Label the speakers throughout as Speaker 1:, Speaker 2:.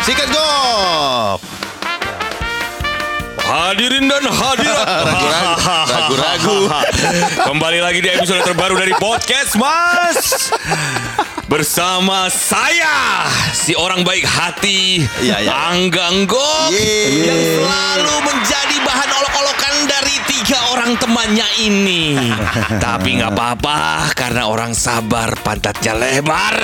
Speaker 1: Sikat gok.
Speaker 2: Hadirin dan hadirat
Speaker 1: Ah, Ragu-ragu, ragu-ragu.
Speaker 2: Kembali lagi di episode terbaru dari Podcast Mas Bersama saya Si orang baik hati
Speaker 1: Iya, iya.
Speaker 2: Angga Enggok
Speaker 1: Yeay.
Speaker 2: Yang selalu menjadi bahan olok-olokan dari tiga orang temannya ini Tapi nggak apa-apa Karena orang sabar pantatnya lebar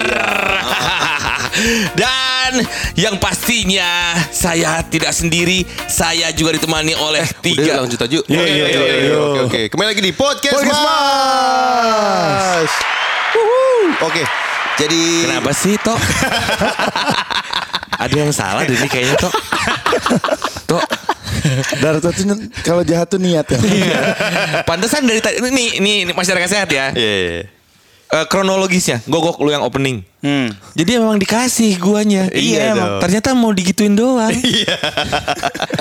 Speaker 2: Dan yang pastinya saya tidak sendiri Saya juga ditemani oleh
Speaker 1: Eh, Udah
Speaker 2: tiga
Speaker 1: lanjut aja.
Speaker 2: Iya, iya, iya, iya.
Speaker 1: Oke, oke. Kembali lagi di podcast,
Speaker 3: Podcast
Speaker 1: Mas. Oke. Jadi
Speaker 2: Kenapa sih, Tok? Ada yang salah deh ini kayaknya, Tok. Tok,
Speaker 3: Darat itu nen- kalau jahat tuh niat ya.
Speaker 2: pantesan dari tadi ini ini, ini masyarakat sehat ya.
Speaker 1: Iya, iya, iya.
Speaker 2: Eh, kronologisnya, gogok lu yang opening.
Speaker 4: Hmm.
Speaker 2: Jadi emang dikasih guanya.
Speaker 1: Iya
Speaker 2: emang.
Speaker 1: dong.
Speaker 2: Ternyata mau digituin doang.
Speaker 1: Iya.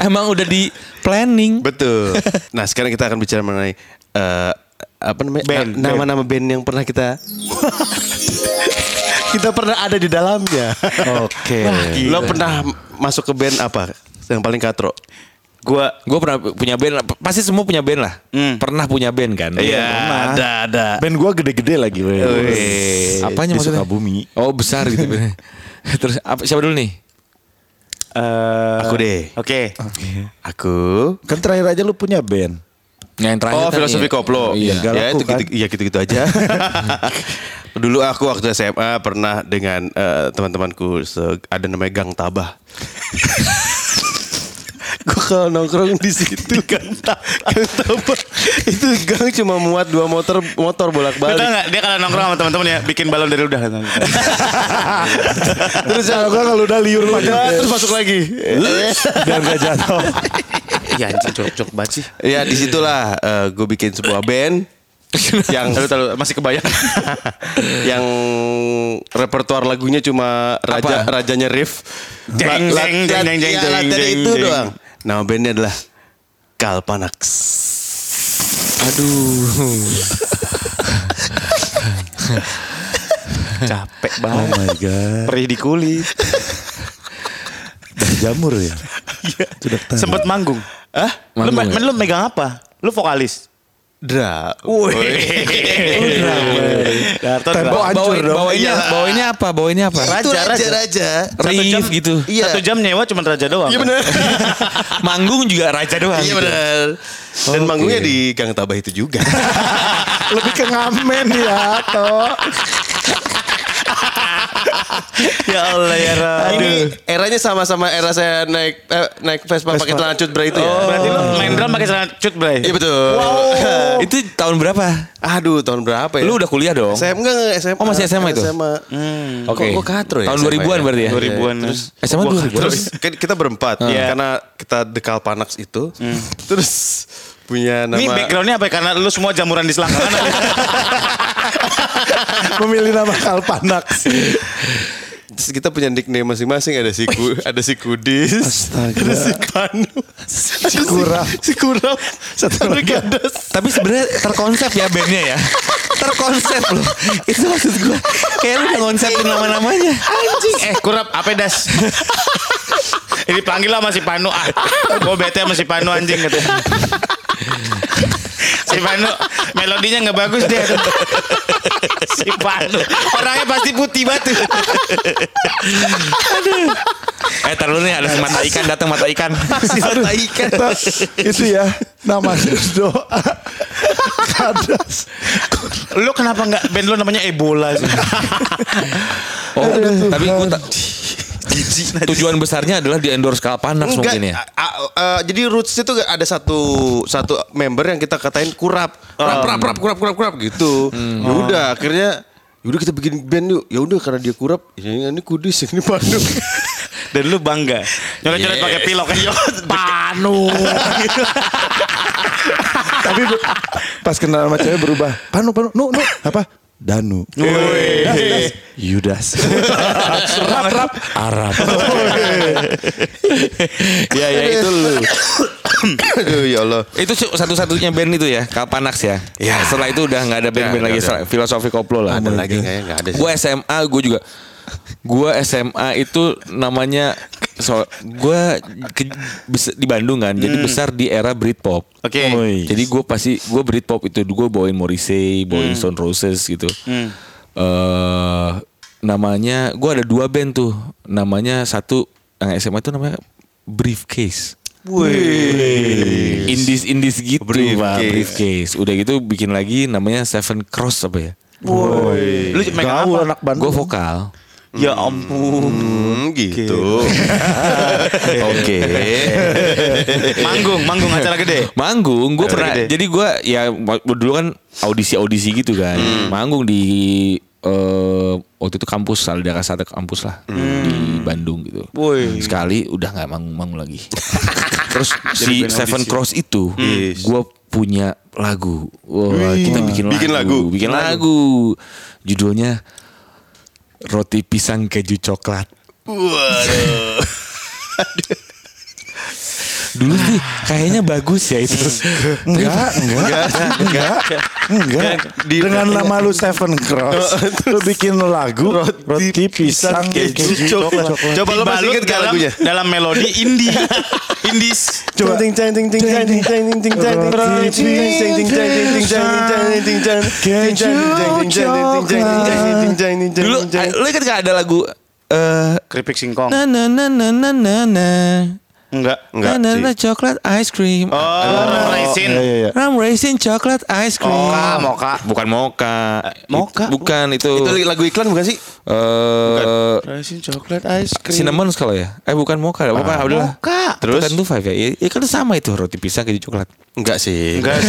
Speaker 2: emang udah di planning.
Speaker 1: Betul. Nah, sekarang kita akan bicara mengenai eh, apa namanya?
Speaker 3: Band,
Speaker 1: Na- Nama-nama band yang pernah kita kita pernah ada di dalamnya.
Speaker 3: Oke.
Speaker 1: Lo pernah masuk ke band apa? Yang paling katro?
Speaker 4: Gua
Speaker 2: Gue pernah punya band, lah. pasti semua punya band lah.
Speaker 4: Hmm.
Speaker 2: Pernah punya band kan?
Speaker 4: iya,
Speaker 3: pernah.
Speaker 1: Iya, ada ada.
Speaker 3: Band gua gede-gede lagi. weh.
Speaker 1: Wih.
Speaker 2: Apanya
Speaker 3: Di
Speaker 2: maksudnya?
Speaker 3: Sukabumi.
Speaker 2: Oh besar gitu. Terus apa, siapa dulu nih?
Speaker 4: eh,
Speaker 1: Aku deh.
Speaker 4: Oke.
Speaker 1: Aku
Speaker 3: Kan terakhir aja lu punya band.
Speaker 2: Nah, Yang terakhir
Speaker 1: Oh
Speaker 2: tadi
Speaker 1: filosofi
Speaker 2: ya.
Speaker 1: koplo
Speaker 3: Iya, gak
Speaker 1: Ya
Speaker 3: laku
Speaker 1: itu
Speaker 3: kan?
Speaker 1: gitu, ya gitu-gitu aja Dulu aku waktu SMA pernah dengan eh, teman-temanku se- Ada namanya Gang Tabah Gue kalau nongkrong di situ Gang, Ta- Gang Tabah Itu gang cuma muat dua motor motor
Speaker 4: Lu tau
Speaker 1: bolak-balik
Speaker 4: gak dia kalau nongkrong sama teman-teman ya bikin balon dari ludah.
Speaker 3: Terus kalau gua kalau udah liur
Speaker 1: Ya,
Speaker 3: panjang
Speaker 1: Terus masuk lagi
Speaker 3: biar gak jatuh.
Speaker 4: Iya anjing cocok banget sih.
Speaker 1: Ya disitulah gue bikin sebuah band yang
Speaker 4: Tahu tahu masih kebayang.
Speaker 1: yang repertoar lagunya cuma raja
Speaker 2: Apa?
Speaker 1: rajanya riff.
Speaker 4: Jeng,
Speaker 1: La- la-
Speaker 4: jeng, jeng, jeng, jeng,
Speaker 1: ya,
Speaker 4: jeng,
Speaker 1: latihan
Speaker 4: jeng,
Speaker 1: itu
Speaker 4: jeng.
Speaker 1: doang. Nama bandnya adalah Kalpanax.
Speaker 2: Aduh.
Speaker 4: Capek
Speaker 3: Oh
Speaker 4: banget.
Speaker 3: my god.
Speaker 4: Perih di kulit.
Speaker 3: Dah jamur ya. Sudah ketan.
Speaker 4: Sempet manggung. Hah? Lu,
Speaker 2: Manggung
Speaker 4: ma-
Speaker 2: ya?
Speaker 4: lu megang apa? Lu vokalis.
Speaker 1: Dra.
Speaker 4: Darto
Speaker 3: Tembok
Speaker 4: dra-
Speaker 3: aja. Hancur
Speaker 2: Bawain,
Speaker 3: dong.
Speaker 2: bawainnya,
Speaker 1: Iyalah.
Speaker 2: bawainnya ya? apa? Bawainnya apa?
Speaker 4: Raja,
Speaker 1: Itu raja
Speaker 4: raja.
Speaker 1: raja.
Speaker 4: Satu jam-
Speaker 2: Riff gitu.
Speaker 1: Iya.
Speaker 4: Satu jam nyewa cuma raja doang.
Speaker 1: Iya benar.
Speaker 2: Manggung juga raja doang.
Speaker 1: Iya
Speaker 2: gitu.
Speaker 1: benar. Dan
Speaker 2: Oke.
Speaker 1: manggungnya di Gang Tabah itu juga.
Speaker 3: Lebih ke ngamen ya, toh.
Speaker 4: ya Allah ya Rabi.
Speaker 1: Ini eranya sama-sama era saya naik eh, naik Vespa pakai celana cut bra itu ya.
Speaker 3: Oh.
Speaker 4: Berarti lu main drum pakai celana cut, Bray.
Speaker 1: Iya betul.
Speaker 2: Itu tahun berapa?
Speaker 1: Aduh tahun berapa ya?
Speaker 2: Lu udah kuliah dong.
Speaker 1: SMA enggak enggak, SMA.
Speaker 2: Oh, masih SMA itu?
Speaker 1: SMA.
Speaker 2: Oke.
Speaker 1: Kok- kok katro ya
Speaker 2: Tahun
Speaker 1: SMA
Speaker 2: 2000-an berarti ya?
Speaker 4: 2000-an.
Speaker 1: Terus
Speaker 2: SMA 2000.
Speaker 1: terus kan kita berempat
Speaker 4: Iya.
Speaker 1: karena kita dekal panax itu. Terus punya nama
Speaker 4: Ini backgroundnya apa ya? Karena lu semua jamuran di selangkangan.
Speaker 3: Memilih nama Kalpanax.
Speaker 1: terus kita punya nickname masing-masing ada si ku, ada si kudis,
Speaker 3: Astaga.
Speaker 1: ada si kanu, ada si
Speaker 3: Kurap.
Speaker 1: si kurap,
Speaker 3: Satu
Speaker 1: ada
Speaker 3: lagi.
Speaker 1: gadas.
Speaker 2: Tapi sebenarnya terkonsep ya bandnya ya. Terkonsep loh. Itu maksud gue. Kayak lu udah ngonsepin nama-namanya.
Speaker 4: eh kurap apa das? Ini panggil lah masih Panu ah. Gue bete sama si Panu anjing gitu. Si Panu melodinya nggak bagus deh. Si Panu orangnya pasti putih batu.
Speaker 2: Eh tar dulu nih ada si mata ikan datang mata ikan.
Speaker 3: Si mata ikan. Itu ya nama doa. Kadas.
Speaker 4: Lu kenapa nggak band lu namanya Ebola sih?
Speaker 2: Oh,
Speaker 3: Aduh,
Speaker 2: tapi gua
Speaker 3: Tuhan.
Speaker 2: tak- tujuan besarnya adalah di endorse Kalpanax
Speaker 1: Enggak,
Speaker 2: mungkin ya.
Speaker 1: a- a- a- jadi roots itu ada satu satu member yang kita katain kurap, kurap, kurap, kurap, kurap, kurap, kurap gitu.
Speaker 4: Hmm.
Speaker 1: Ya udah,
Speaker 4: Oh.
Speaker 1: akhirnya ya udah kita bikin band yuk. Ya udah karena dia kurap, ini, ini kudis, ini Bandung.
Speaker 4: Dan lu bangga nyoret-nyoret pakai pilok kan? Panu.
Speaker 3: Tapi bu- pas kenal sama cewek berubah. Panu, panu, nu, nu, apa? Danu. Das, das. Yudas. rap, rap.
Speaker 2: Arab.
Speaker 1: ya ya itu lu. Aduh ya Allah.
Speaker 2: Itu su- satu-satunya band itu ya, Kalpanax ya.
Speaker 1: Ya.
Speaker 2: Setelah itu udah nggak ada band-band
Speaker 1: Ya,
Speaker 2: lagi.
Speaker 1: udah,
Speaker 2: Setelah- Filosofi koplo lah.
Speaker 1: Ada lagi kayaknya enggak ada sih.
Speaker 2: Gue SMA, gue juga. Gue SMA itu namanya so gue di Bandung kan, jadi besar di era Britpop.
Speaker 4: Oke.
Speaker 3: Woi.
Speaker 2: Jadi gue pasti gue Britpop itu gue bawain Morrissey, bawain Stone Roses gitu. Eh namanya gue ada dua band tuh. Namanya satu yang SMA itu namanya Briefcase. Wih. Indis indis gitu briefcase.
Speaker 1: Briefcase.
Speaker 2: briefcase. Udah gitu bikin lagi namanya Seven Cross apa ya?
Speaker 4: Lu make up
Speaker 3: Gaul
Speaker 4: apa?
Speaker 3: anak Bandung.
Speaker 2: Gue vokal.
Speaker 4: Ya ampun.
Speaker 1: Hmm, gitu.
Speaker 2: Oke.
Speaker 4: manggung, manggung acara gede.
Speaker 2: Manggung, gue
Speaker 4: Acara
Speaker 2: pernah.
Speaker 4: gede.
Speaker 2: Jadi gue ya ma- dulu kan audisi audisi gitu kan. Manggung di eh, waktu itu kampus, Saldaka satu kampus lah di Bandung gitu.
Speaker 4: Woi.
Speaker 2: Sekali udah nggak manggung-manggung lagi. Terus si Seven Cross itu, gue punya lagu. Wah, kita bikin,
Speaker 1: Bikin lagu.
Speaker 2: lagu, bikin lagu. Judulnya Roti Pisang Keju Coklat. Dulu sih kayaknya bagus ya itu.
Speaker 3: Enggak, enggak, enggak, enggak. Dengan nama lu Seven Cross, lu bikin lagu roti pisang keju coklat.
Speaker 1: Coba lo masih
Speaker 4: Dibalut
Speaker 1: inget gak
Speaker 4: dalam-
Speaker 1: lagunya?
Speaker 4: Dalam melodi indie. Indies.
Speaker 3: Coba ting ting ting ting ting ting ting ting ting ting
Speaker 2: Dulu ah,
Speaker 5: Dulu
Speaker 2: lu ingat gak ada lagu eh
Speaker 4: Keripik singkong.
Speaker 2: na na na na na na na
Speaker 4: Enggak.
Speaker 2: na na na coklat ice cream. Ah,
Speaker 4: Oh, raisin.
Speaker 2: Ram raisin coklat ice cream.
Speaker 4: Moka, moka.
Speaker 2: Bukan moka.
Speaker 4: moka?
Speaker 2: It- bukan Eh, itu.
Speaker 1: Itu lagu iklan bukan sih?
Speaker 2: eh
Speaker 4: Raisin coklat ice
Speaker 2: cinnamon kalau ya. Eh bukan moka, bukan ah, udah.
Speaker 4: moka.
Speaker 2: Terus kan tuh five ya. Ya, ya kan sama itu roti pisang keju coklat.
Speaker 1: Enggak sih. Enggak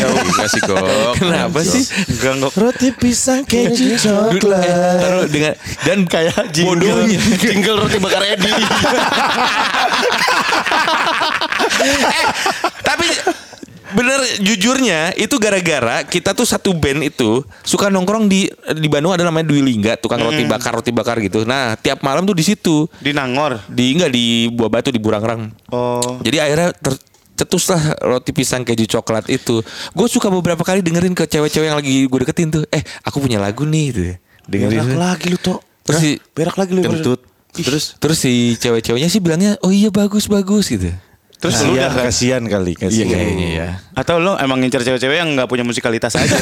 Speaker 1: sih kok.
Speaker 2: Kenapa sih? eh,
Speaker 4: Enggak, enggak.
Speaker 3: Roti pisang keju coklat.
Speaker 2: Taruh dengan dan kayak bodohnya
Speaker 1: Jingle roti bakar Edi.
Speaker 2: Tapi bener jujurnya itu gara-gara kita tuh satu band itu suka nongkrong di di Bandung ada namanya Dwi Lingga tukang roti bakar roti bakar gitu. Nah tiap malam tuh di situ
Speaker 4: Di Nangor.
Speaker 2: di enggak di Buah Batu di Burangrang.
Speaker 4: Oh.
Speaker 2: Jadi akhirnya tercetuslah roti pisang keju coklat itu. Gue suka beberapa kali dengerin ke cewek-cewek yang lagi gue deketin tuh. Eh aku punya lagu nih gitu. Dengerin.
Speaker 3: lagi lu tok.
Speaker 2: Terus si,
Speaker 3: Berak lagi lu.
Speaker 1: Kentut.
Speaker 2: terus terus si cewek-ceweknya sih bilangnya oh iya bagus bagus gitu.
Speaker 4: Terus
Speaker 3: Kasihan,
Speaker 4: lu udah kan?
Speaker 3: kasihan kali.
Speaker 2: Iya
Speaker 3: kasihan.
Speaker 2: kayaknya ya.
Speaker 4: Atau lu emang ngincer cewek-cewek yang nggak punya musikalitas aja.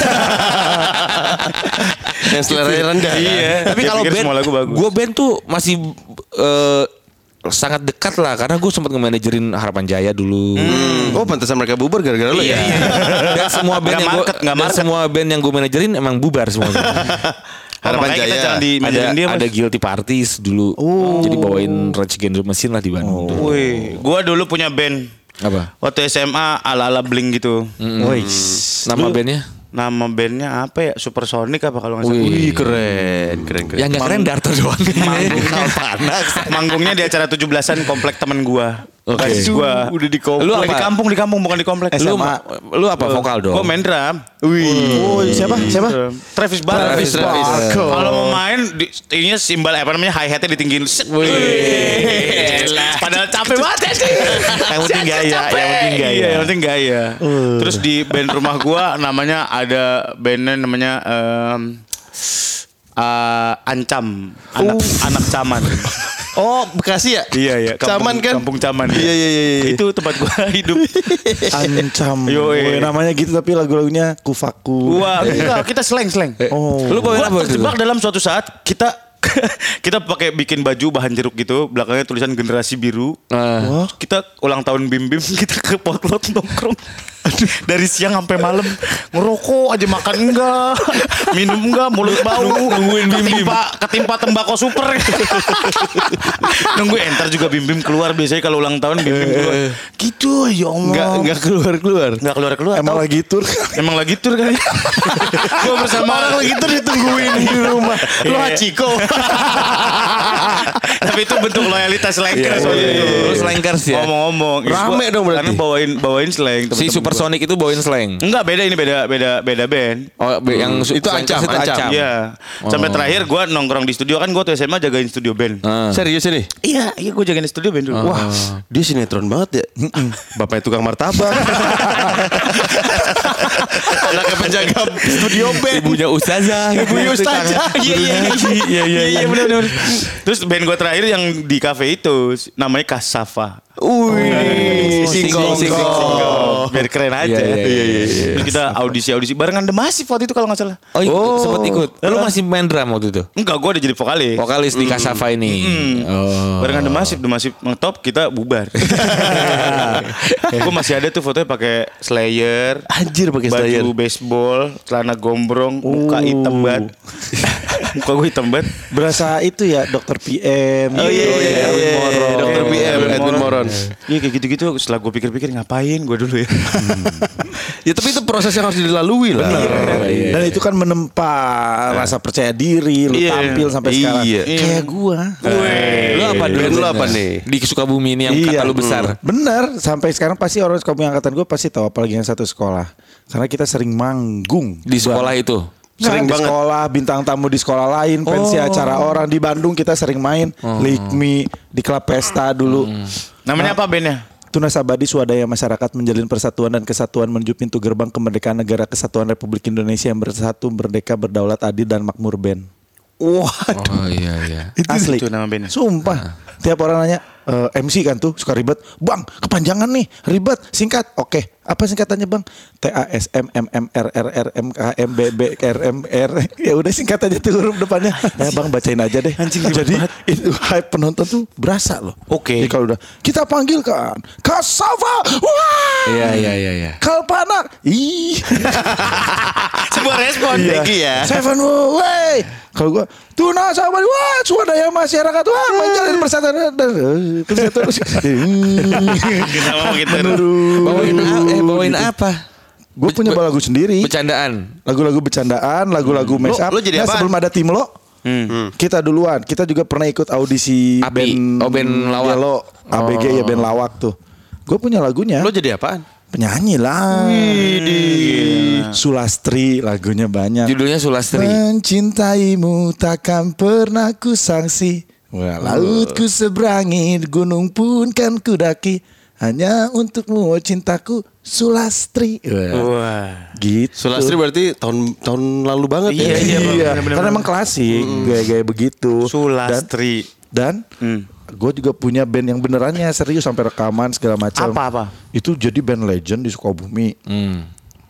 Speaker 1: Yang seleranya rendah. kan?
Speaker 4: Iya.
Speaker 2: Tapi
Speaker 4: Dia
Speaker 2: kalau
Speaker 4: pikir
Speaker 2: band,
Speaker 4: semua lagu bagus.
Speaker 2: gue band tuh masih eh, sangat dekat lah karena gue sempat ngemanajerin Harapan Jaya dulu.
Speaker 1: Hmm. Oh pantesan mereka bubar gara-gara lo
Speaker 4: Iya.
Speaker 1: ya.
Speaker 2: Dan semua band
Speaker 4: Nggak
Speaker 2: yang gue
Speaker 4: market, nggak market.
Speaker 2: semua band yang gue manajerin emang bubar semuanya.
Speaker 1: Harapan
Speaker 4: makanya kita
Speaker 1: Jaya.
Speaker 4: jangan di
Speaker 2: ada
Speaker 4: dia. Oh.
Speaker 2: ada guilty parties dulu. Jadi bawain Rage Against the Machine lah di Bandung. tuh.
Speaker 4: Woi, gua dulu punya band.
Speaker 2: Apa?
Speaker 4: Waktu SMA ala-ala bling gitu.
Speaker 3: Woi.
Speaker 2: Nama bandnya?
Speaker 4: Nama bandnya apa ya? Supersonic apa kalau nggak salah?
Speaker 2: Wih,
Speaker 1: keren, keren, keren.
Speaker 2: Yang gak Ya, keren Darto doang.
Speaker 4: Manggung panas. Manggungnya di acara 17-an komplek temen gua.
Speaker 2: Oke.
Speaker 4: Basis gua. Udah di komplek. Lu
Speaker 2: Lu apa?
Speaker 4: di kampung, di kampung bukan di komplek.
Speaker 2: lu, lu apa vokal dong?
Speaker 4: Gua main drum.
Speaker 3: Woi, siapa? Siapa?
Speaker 4: Drum. Travis Barker.
Speaker 1: Iya. Travis Travis.
Speaker 3: Barker.
Speaker 4: Kalau mau main di, ininya simbal apa namanya high hatnya ditinggiin. Set. Elah. Padahal capek banget ya. sih.
Speaker 2: Yang penting gaya,
Speaker 4: Capek.
Speaker 2: yang penting gaya.
Speaker 4: Iya, yang penting gaya. Terus di band rumah gua namanya ada bandnya namanya em, eh, ancam anak
Speaker 1: Uh.
Speaker 4: anak caman
Speaker 1: Oh Bekasi ya?
Speaker 4: iya iya
Speaker 1: Caman kan?
Speaker 4: kampung caman
Speaker 1: Iya, iya, iya, iya.
Speaker 4: itu tempat gua hidup
Speaker 3: Ancam.
Speaker 4: Yo, eh.
Speaker 3: Woi, namanya gitu tapi lagu-lagunya kufaku.
Speaker 4: gua kita, Iya, kita slang slang
Speaker 1: Eh,
Speaker 3: Oh.
Speaker 2: Lu bawain
Speaker 4: Gua
Speaker 2: apa dulu?
Speaker 4: terjebak dalam suatu saat kita kita pakai bikin baju bahan jeruk gitu, belakangnya tulisan generasi biru.
Speaker 2: Eh.
Speaker 4: Terus Kita ulang tahun Bim Bim, kita ke potlot nongkrong. Dari siang sampai malam ngerokok aja makan enggak, minum enggak, mulut bau, nungguin Bim Bim. Ketimpa tembakau super. Nunggu entar juga Bim Bim keluar biasanya kalau ulang tahun Bim Bim keluar. Gitu ya Allah.
Speaker 1: Enggak, enggak keluar keluar.
Speaker 4: Enggak keluar-keluar.
Speaker 3: Emang
Speaker 4: tau.
Speaker 3: lagi tur
Speaker 4: Emang lagi tur kali. Gue bersama orang lagi tur ditungguin di rumah. Lu Hachiko. Tapi itu bentuk loyalitas Lakers
Speaker 2: Iya,
Speaker 4: waktu
Speaker 2: iya,
Speaker 4: itu.
Speaker 2: iya. Lu Slankers ya?
Speaker 4: Ngomong-ngomong.
Speaker 1: Rame dong berarti.
Speaker 4: Karena bawain bawain slang
Speaker 2: Si Supersonic itu bawain slang.
Speaker 4: Enggak beda ini beda beda beda band.
Speaker 2: Oh, be- yang
Speaker 4: Hmm.
Speaker 2: su-
Speaker 1: Itu
Speaker 2: Slankers
Speaker 1: ancam, ancam. Am.
Speaker 4: Iya. Sampai terakhir gue nongkrong di studio kan gue tuh SMA jagain studio band.
Speaker 2: Ah.
Speaker 1: Serius ini?
Speaker 4: Iya, iya gue jagain studio band dulu.
Speaker 1: Wah, dia sinetron banget ya. Bapaknya tukang martabak. Anaknya penjaga studio band.
Speaker 2: Ibunya Ustazah. gitu. iya,
Speaker 4: Ibu Yus aja. Iya iya iya. Iya iya benar benar. Terus band gue terakhir yang di kafe itu namanya Kasafa.
Speaker 2: Iya,
Speaker 1: Wih, singkong, singkong.
Speaker 4: Oh, biar keren aja.
Speaker 2: Iya, iya, iya,
Speaker 4: Terus kita audisi-audisi barengan The Massive waktu itu kalau nggak salah.
Speaker 1: iya.
Speaker 2: Oh, oh sempat ikut. Lalu masih main drum waktu itu.
Speaker 4: Enggak, gue udah jadi vokalis.
Speaker 2: Vokalis di Kasava ini. Oh.
Speaker 4: Barengan The Massive, The Massive ngetop, kita bubar. gue masih ada tuh fotonya pakai Slayer,
Speaker 1: Anjir pakai
Speaker 4: baju
Speaker 1: Iya, Slayer. Uh.
Speaker 4: baseball, celana gombrong, muka hitam banget. muka gue hitam banget.
Speaker 3: Berasa itu ya dokter PM.
Speaker 1: Oh iya, iya, iya,
Speaker 3: Erwin
Speaker 1: iya,
Speaker 3: Moro.
Speaker 1: Dokter
Speaker 4: Erwin
Speaker 1: PM,
Speaker 4: Moron.
Speaker 1: Edwin Moron.
Speaker 4: Iya kayak gitu-gitu setelah gue pikir-pikir ngapain gue dulu ya.
Speaker 1: Ya tapi itu proses yang harus dilalui lah.
Speaker 3: Dan itu kan menempa rasa percaya diri, lu
Speaker 1: Nah. Iya.
Speaker 3: tampil sampai sekarang.
Speaker 1: Iya. Nah.
Speaker 3: Kayak gua.
Speaker 2: Lu apa dulu?
Speaker 1: Lu apa nih?
Speaker 2: Di Sukabumi ini yang
Speaker 3: Iya.
Speaker 2: kata lu besar.
Speaker 3: Bener, sampai sekarang pasti orang sekolah angkatan gue pasti tahu apalagi yang satu sekolah. Karena kita sering manggung.
Speaker 2: Di sekolah itu.
Speaker 1: Sering Nah,
Speaker 3: Sering di
Speaker 1: banget. Oh.
Speaker 3: sekolah, bintang tamu di sekolah lain, pensi acara orang di Bandung kita sering main, Like Me di klub pesta dulu.
Speaker 1: Hmm.
Speaker 4: Namanya apa bandnya?
Speaker 3: Tuna Sabadi swadaya masyarakat menjalin persatuan dan kesatuan menuju pintu gerbang kemerdekaan negara kesatuan Republik Indonesia yang bersatu, merdeka, berdaulat, adil dan makmur band.
Speaker 1: Waduh.
Speaker 2: Oh iya iya.
Speaker 3: Asli.
Speaker 4: itu nama bandnya?
Speaker 2: Ah.
Speaker 3: Sumpah. Tiap orang nanya "Eh, MC kan tuh suka ribet. Bang, kepanjangan nih, ribet, singkat. Oke, apa singkatannya, Bang? T A S M M M R R R M K M B B R M R. Ya udah singkat aja tuh huruf depannya. Ya, Bang, bacain aja deh. Jadi itu hype penonton tuh berasa loh.
Speaker 4: Oke.
Speaker 3: Jadi kalau udah kita panggil kan Kasava. Wah!
Speaker 2: Iya iya iya iya.
Speaker 3: Kalpanak. Ih.
Speaker 4: Sebuah respon
Speaker 1: Iya.
Speaker 4: Egi
Speaker 3: Iya.
Speaker 4: ya.
Speaker 3: Seven way. Kalau gua tuna sama wah swadaya masyarakat wah menjalin persatuan dan persatuan.
Speaker 4: Kenapa begitu?
Speaker 2: Bawain, a- eh, bawain apa?
Speaker 3: Gue punya lagu sendiri.
Speaker 2: Bercandaan.
Speaker 3: Lagu-lagu bercandaan, lagu-lagu mash up.
Speaker 1: lo jadi
Speaker 3: Nah,
Speaker 1: apaan?
Speaker 3: sebelum ada tim lo, kita duluan. Kita juga pernah ikut audisi
Speaker 2: Api. Oh, band lawak.
Speaker 3: Yellow, ABG ya band lawak tuh. Gue punya lagunya.
Speaker 1: Lo jadi apaan?
Speaker 3: penyanyi lah. Sulastri lagunya banyak.
Speaker 2: Judulnya Sulastri.
Speaker 3: Ah. Mencintaimu takkan pernah ku sangsi Wah, Laut ku seberangi Gunung pun kan ku daki Hanya untukmu oh cintaku Sulastri Wah,
Speaker 4: Oh, Wah.
Speaker 3: Gitu
Speaker 1: Sulastri berarti tahun tahun lalu banget
Speaker 4: Iya,
Speaker 1: ya.
Speaker 4: iya. bener-bener.
Speaker 3: Karena emang klasik Gaya-gaya
Speaker 2: Oh,
Speaker 3: begitu
Speaker 4: Sulastri. Hmm.
Speaker 3: Dan, dan Gue juga punya band yang benerannya serius sampai rekaman segala macam.
Speaker 4: Apa, apa? Hmm.
Speaker 3: Itu jadi band legend di Sukabumi.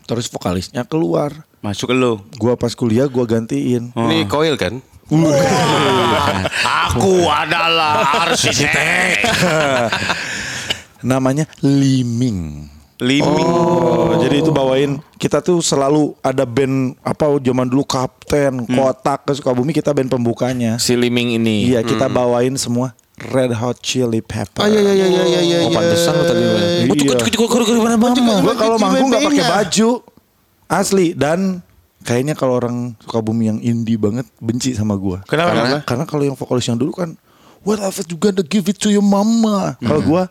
Speaker 3: Terus vokalisnya keluar.
Speaker 4: Masuk lo.
Speaker 3: Gua pas kuliah gua gantiin.
Speaker 1: Ini koil kan?
Speaker 4: Aku adalah arsitek.
Speaker 3: Namanya Liming.
Speaker 4: Liming.
Speaker 3: Oh, jadi itu bawain kita tuh selalu ada band apa zaman dulu Kapten, Kotak ke Sukabumi kita band pembukanya.
Speaker 2: Si Liming ini.
Speaker 3: Iya, kita bawain semua Red Hot Chili
Speaker 1: Ah,
Speaker 3: Pepper.
Speaker 1: iya, iya, iya, iya, iya,
Speaker 2: Oh,
Speaker 1: iya.
Speaker 2: pantesan lu tadi gimana?
Speaker 3: Iya.
Speaker 2: Cukup cukup cukup cukup gimana bang?
Speaker 3: Gue kalau manggung nggak pakai
Speaker 1: Band-bandnya.
Speaker 3: baju asli dan kayaknya kalau orang Sukabumi yang indie banget benci sama gua.
Speaker 4: Kenapa?
Speaker 3: Karena, karena kalau yang vokalis yang dulu kan What if you gonna give it to your mama? Kalau gua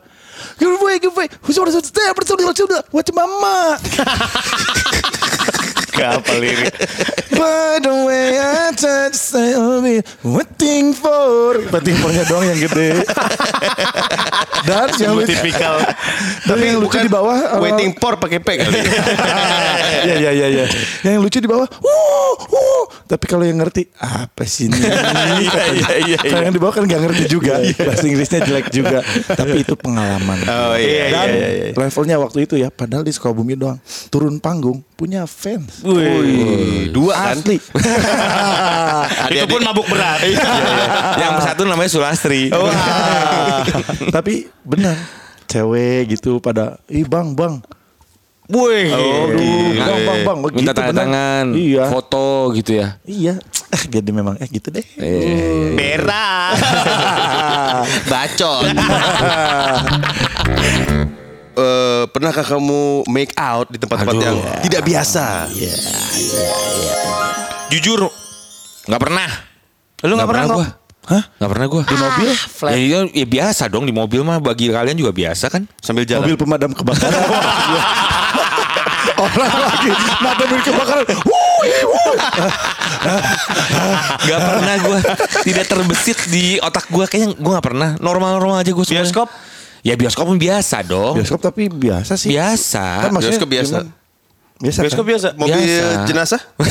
Speaker 3: Give away, give away. Who's gonna stay? Bersaudara, bersaudara. What's your mama?
Speaker 4: Gak apa lirik.
Speaker 3: By the way I touch say only waiting for Penting fornya doang yang gede Dan yang
Speaker 4: Sungguh
Speaker 3: lucu
Speaker 4: tipikal.
Speaker 3: Dan yang lucu di bawah uh,
Speaker 1: Waiting for pakai P kali.
Speaker 3: Ya ya ya ya Yang lucu di bawah wuh, wuh. Tapi kalau yang ngerti Apa sih ini Kalau yang di bawah kan gak ngerti juga Bahasa Inggrisnya jelek juga Tapi itu pengalaman
Speaker 4: Oh iya
Speaker 3: Dan
Speaker 4: iya iya.
Speaker 3: levelnya waktu itu ya Padahal di Sukabumi doang Turun panggung Punya fans
Speaker 1: Wih, dua kan?
Speaker 3: Asli
Speaker 4: Itu pun mabuk berat.
Speaker 2: Iya,
Speaker 1: Iya.
Speaker 2: Yang satu namanya Sulastri.
Speaker 3: Tapi benar cewek gitu pada ih bang bang
Speaker 4: Wih.
Speaker 3: aduh
Speaker 2: Nah,
Speaker 3: bang bang bang Oh,
Speaker 2: Minta tanda
Speaker 3: benar.
Speaker 2: tangan,
Speaker 3: iya
Speaker 2: foto gitu ya.
Speaker 3: iya Ah, jadi memang eh gitu deh
Speaker 4: Berak.
Speaker 1: Bacot. Eh, pernahkah kamu make out di tempat-tempat yang tidak biasa?
Speaker 2: Jujur, nggak pernah. Lu nggak pernah, gua.
Speaker 3: Hah?
Speaker 2: Nggak pernah gua. Di mobil? Ya, itu- ya biasa dong di mobil mah bagi kalian juga biasa kan?
Speaker 1: Sambil jalan.
Speaker 3: mobil pemadam kebakaran Iya. orang lagi madamin kebakaran ya. Wuih, wuih.
Speaker 2: Gak pernah gue Tidak terbesit di otak gue Kayaknya gue gak pernah Normal-normal aja gue semuanya
Speaker 4: Bioskop?
Speaker 2: Ya bioskop pun biasa dong
Speaker 3: bioskop tapi biasa sih
Speaker 2: Biasa
Speaker 3: Kan maksudnya
Speaker 1: bioskop biasa.
Speaker 3: gimana? Biasa
Speaker 4: Bioskop
Speaker 3: kan?
Speaker 4: biasa.
Speaker 1: Mobil
Speaker 2: Biasa.
Speaker 1: jenazah?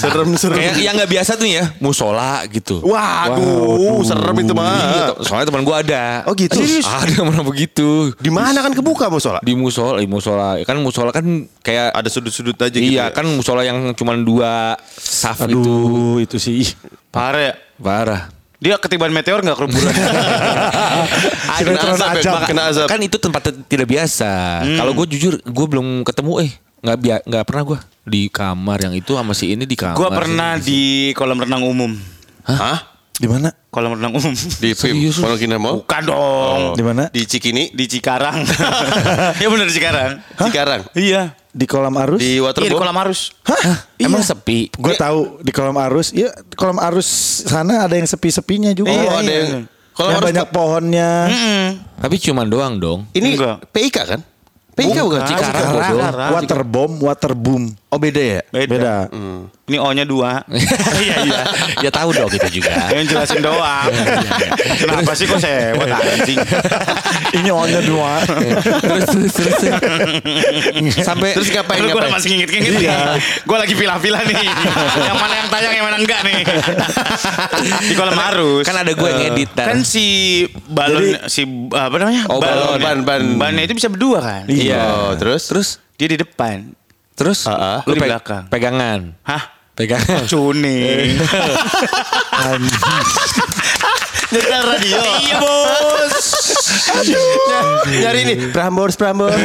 Speaker 1: Serem-serem.
Speaker 2: Kayak yang nggak biasa tuh ya, musola gitu.
Speaker 1: Waduh, serem
Speaker 2: Iya,
Speaker 1: itu mah.
Speaker 2: to- soalnya teman gua ada.
Speaker 1: Oh, gitu?
Speaker 2: Serius? Ada yang pernah begitu.
Speaker 1: Di mana kan kebuka musola?
Speaker 2: Di musola, di musola. Kan musola kan kayak
Speaker 1: Ada sudut-sudut aja gitu.
Speaker 2: Iya
Speaker 1: ya?
Speaker 2: kan musola yang cuman dua saf
Speaker 1: Gitu.
Speaker 2: itu
Speaker 3: Aduh, itu sih. ih,
Speaker 4: Parah ya?
Speaker 2: parah.
Speaker 4: Dia ketiban meteor gak kerumunan?
Speaker 2: Ah,
Speaker 1: Sinetron azab,
Speaker 2: Maka-
Speaker 1: kena azab.
Speaker 2: Kan itu tempat t- tidak biasa. Kalau gue jujur, gue belum ketemu eh nggak bia- nggak pernah gue di kamar yang itu sama si ini di kamar.
Speaker 4: Gua pernah
Speaker 2: sih.
Speaker 4: di kolam renang umum.
Speaker 1: Hah?
Speaker 3: Di mana?
Speaker 4: Kolam renang umum.
Speaker 1: Di PIM
Speaker 2: Serius lu?
Speaker 1: Pondok Indah Mall?
Speaker 4: Bukan dong.
Speaker 2: Oh.
Speaker 3: Di mana?
Speaker 1: Di Cikini,
Speaker 4: Di Cikarang. ya bener di Cikarang.
Speaker 1: Cikarang,
Speaker 4: Iya.
Speaker 3: Di kolam arus?
Speaker 1: di
Speaker 4: Iya di kolam
Speaker 1: Waterboom.
Speaker 4: arus.
Speaker 3: Hah?
Speaker 2: Emang
Speaker 3: Iya.
Speaker 2: sepi.
Speaker 3: Gue tahu di kolam arus, iya di kolam arus sana ada yang sepi-sepinya juga.
Speaker 1: Oh,
Speaker 3: Iya,
Speaker 1: ada
Speaker 3: iya.
Speaker 1: yang- kolam
Speaker 3: yang
Speaker 1: arus
Speaker 3: banyak pohonnya.
Speaker 2: Tapi cuman doang dong.
Speaker 1: Ini
Speaker 4: Enggak.
Speaker 1: PIK kan? PIK bukan
Speaker 2: Cikarang,
Speaker 1: Cikarang.
Speaker 2: bodoh.
Speaker 4: Cikarang.
Speaker 3: Waterbomb, waterboom.
Speaker 1: Oh beda ya?
Speaker 3: Beda.
Speaker 4: Ini O-nya dua.
Speaker 2: Iya iya. ya tahu dong itu juga.
Speaker 4: Yang jelasin doang.
Speaker 2: Iya,
Speaker 4: Kenapa sih kok sewot anjing?
Speaker 3: Ini ohnya dua.
Speaker 2: terus terus terus. Sampai
Speaker 1: Terus ngapain
Speaker 4: Aduh,
Speaker 1: ngapain?
Speaker 4: gue masih ngingit-ngingit nih. Gue lagi pilah-pilah nih. yang mana yang tayang, yang mana enggak nih. di kolam arus.
Speaker 2: kan ada gue yang edit ntar.
Speaker 4: Kan si balon si apa namanya?
Speaker 2: Oh, balon.
Speaker 4: Ban, ban. Bannya itu bisa berdua kan?
Speaker 2: Iya.
Speaker 1: Oh, terus?
Speaker 2: Terus
Speaker 4: Dia di depan.
Speaker 2: terus
Speaker 1: Ah, ah.
Speaker 2: lu
Speaker 4: Lu di
Speaker 2: pe-
Speaker 4: belakang.
Speaker 2: pegangan.
Speaker 4: Hah?
Speaker 2: Pegangan.
Speaker 4: Cuni.
Speaker 1: Nyetel radio.
Speaker 4: iya, Bos.
Speaker 1: Nyari ini Prambors Prambors.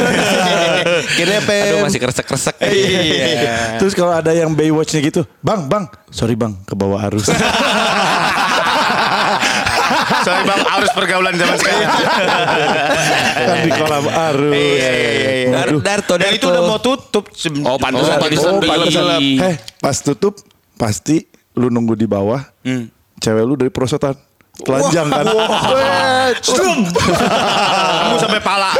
Speaker 1: Kenapa?
Speaker 2: Aduh masih kresek-kresek.
Speaker 4: Iya.
Speaker 3: Terus kalau ada yang Baywatch-nya gitu, bang, bang, sorry bang, ke bawah arus.
Speaker 4: Sorry Bang, arus pergaulan zaman sekarang.
Speaker 1: Iya.
Speaker 3: kan di kolam arus.
Speaker 4: Iya, iya, iya, iya.
Speaker 2: Dar-
Speaker 3: Waduh.
Speaker 2: Darto,
Speaker 4: Dan
Speaker 2: Darto.
Speaker 4: itu udah mau tutup.
Speaker 2: Oh, pantesan
Speaker 1: Oh,
Speaker 2: tadi
Speaker 1: pantesan
Speaker 2: sampai
Speaker 1: gelap.
Speaker 2: gelap.
Speaker 3: Eh, pas tutup pasti lu nunggu di bawah.
Speaker 4: Hmm.
Speaker 3: Cewek lu dari perosotan telanjang kan.
Speaker 4: Kamu sampai pala.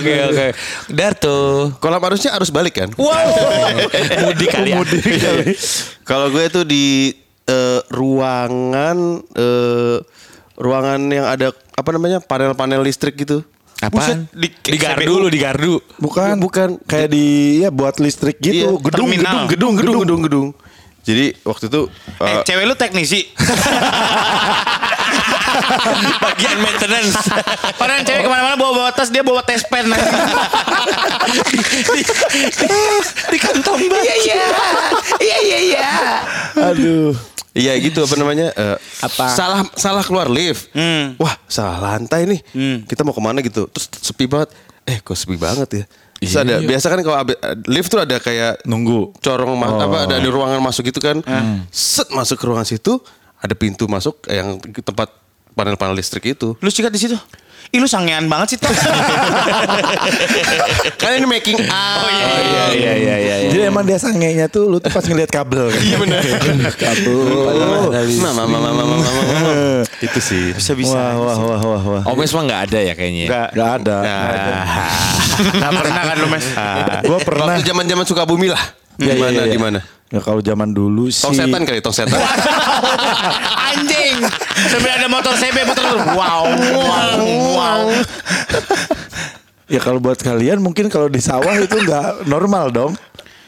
Speaker 2: Oke oke. Darto.
Speaker 1: Kolam arusnya arus balik kan?
Speaker 2: Wow. Mudik kali ya.
Speaker 1: Kalau gue tuh di eh, ruangan eh, ruangan yang ada apa namanya panel-panel listrik gitu.
Speaker 2: Apaan?
Speaker 4: Buset, di-
Speaker 2: Di gardu lu di gardu.
Speaker 3: Iya, Bukan,
Speaker 1: Bukan.
Speaker 3: kayak di ya buat listrik
Speaker 1: Iya,
Speaker 3: gitu, gedung,
Speaker 4: terminal.
Speaker 3: gedung,
Speaker 1: Gedung, gedung, gedung, gedung. Jadi waktu itu
Speaker 4: Eh,
Speaker 1: eh,
Speaker 4: cewek lu teknisi.
Speaker 2: Bagian maintenance.
Speaker 4: Padahal cewek kemana-mana bawa-bawa tas, dia bawa tes pen.
Speaker 2: di kantong banget. Iya iya. Iya iya iya.
Speaker 3: Aduh.
Speaker 1: Iya gitu apa namanya? eh,
Speaker 2: Apa?
Speaker 1: Salah salah keluar lift.
Speaker 4: Hmm.
Speaker 1: Wah salah lantai nih. Kita mau kemana gitu? Terus sepi banget. Eh kok sepi banget ya? Terus ada biasa kan kalau abe- lift tuh ada kayak
Speaker 3: Nunggu.
Speaker 1: corong ma- apa ada di ruangan masuk gitu kan. Set masuk ke ruangan situ ada pintu masuk yang tempat gitu. panel-panel listrik itu.
Speaker 4: lu sikat di situ. Ih lu sangean banget sih Tom.
Speaker 1: kan ini making up. Oh iya.
Speaker 2: Iya iya iya iya.
Speaker 3: Jadi emang dia sangenya tuh lu tuh pas ngeliat kabel kan. Iya benar. kabel.
Speaker 2: Nah,
Speaker 1: Mama, mama, mama, mama, mama, mama. Itu sih.
Speaker 4: Bisa-bisa.
Speaker 3: Wah, wah, wah, wah, wah.
Speaker 2: Omes nah. mah nggak ada ya kayaknya.
Speaker 4: Nggak.
Speaker 3: Gak ada.
Speaker 4: Gak pernah kan lu mes.
Speaker 3: Gua pernah.
Speaker 1: Ah. Waktu zaman-zaman Sukabumi lah.
Speaker 3: Iya,
Speaker 1: Di
Speaker 3: iya,
Speaker 1: mana
Speaker 3: iya.
Speaker 1: di mana?
Speaker 3: Ya kalau zaman dulu sih.
Speaker 1: Tong setan kali, tong setan.
Speaker 4: Anjing. Sambil ada motor CB motor lu. Wow, wow, wow.
Speaker 3: Ya kalau buat kalian mungkin kalau di sawah itu nggak normal dong.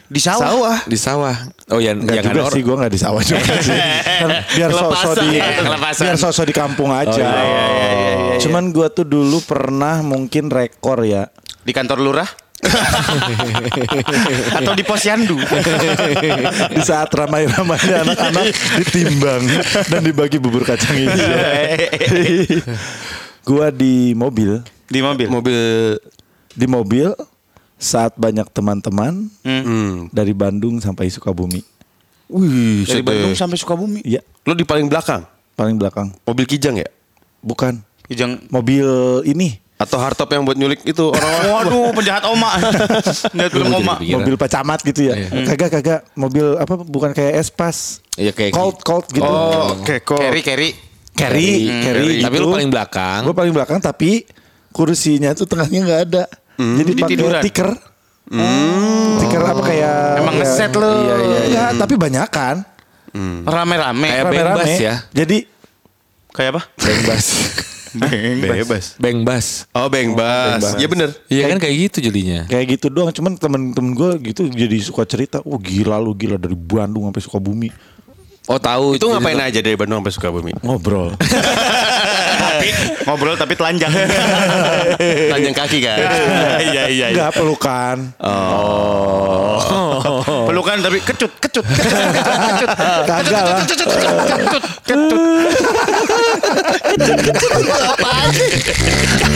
Speaker 4: Di sawah.
Speaker 2: Di sawah. Oh ya
Speaker 3: Enggak
Speaker 2: jangan
Speaker 3: juga
Speaker 2: orang.
Speaker 3: sih gue enggak di sawah juga sih. Kan biar sosok
Speaker 4: Kelepasan
Speaker 3: di
Speaker 4: ya, kelepasan.
Speaker 3: biar sosok di kampung aja. Cuman gue tuh dulu pernah mungkin rekor ya.
Speaker 4: Di kantor lurah. Atau di posyandu.
Speaker 3: di saat ramai-ramainya anak-anak ditimbang dan dibagi bubur kacang ini.
Speaker 4: Iya.
Speaker 3: gue di mobil,
Speaker 4: di mobil.
Speaker 1: Mobil
Speaker 3: di mobil saat banyak teman-teman
Speaker 1: hmm,
Speaker 3: dari Bandung sampai Sukabumi.
Speaker 1: Wih, sete.
Speaker 4: Dari Bandung sampai Sukabumi.
Speaker 3: Iya,
Speaker 1: Lo di paling belakang,
Speaker 3: paling belakang.
Speaker 1: mobil kijang ya?
Speaker 3: Bukan
Speaker 4: Kijang.
Speaker 3: mobil ini,
Speaker 1: Atau hardtop yang buat nyulik itu orang-orang?
Speaker 4: Waduh, penjahat oma. Penjahat film
Speaker 2: Gua jadi
Speaker 4: oma.
Speaker 2: kepikiran.
Speaker 3: mobil Pak Camat gitu ya. Kagak kagak mobil apa bukan kayak Espas.
Speaker 2: Iya, kayak
Speaker 3: Colt Colt gitu.
Speaker 1: Oh, oke kok.
Speaker 4: Keri, keri.
Speaker 3: Carry, carry.
Speaker 2: hmm. Tapi lu paling belakang.
Speaker 3: Gue paling belakang tapi kursinya tuh tengahnya nggak ada. Jadi
Speaker 4: tiduran.
Speaker 3: pakai tiker. Tiker apa kayak
Speaker 4: Emang
Speaker 3: ya-
Speaker 4: ngeset lu.
Speaker 3: Iya, iya, iya. Nggak, tapi banyak kan.
Speaker 4: Rame-rame.
Speaker 2: Kayak
Speaker 3: Rame-rame.
Speaker 2: bebas ya.
Speaker 3: Jadi
Speaker 4: Kayak apa?
Speaker 3: bebas.
Speaker 4: Beng.
Speaker 1: Bebas.
Speaker 2: Bang Bas.
Speaker 1: Oh, Bang Bas. Ya bener.
Speaker 2: Iya kan kayak gitu jadinya.
Speaker 3: Kayak gitu doang, cuman temen-temen gue gitu jadi suka cerita, oh gila lu gila dari Bandung sampai Sukabumi.
Speaker 2: Oh tahu.
Speaker 1: Itu
Speaker 2: Jadi
Speaker 1: ngapain aja dari Bandung sampai Sukabumi?
Speaker 3: Ngobrol.
Speaker 4: Tapi ngobrol tapi telanjang.
Speaker 1: Tanjang kaki kan.
Speaker 2: Iya iya. iya.
Speaker 3: Enggak pelukan.
Speaker 4: Pelukan tapi kecut, kecut, kecut, kecut,
Speaker 3: Kagak lah.
Speaker 4: kecut, kecut, kecut, kecut, kecut.
Speaker 1: Apaan sih?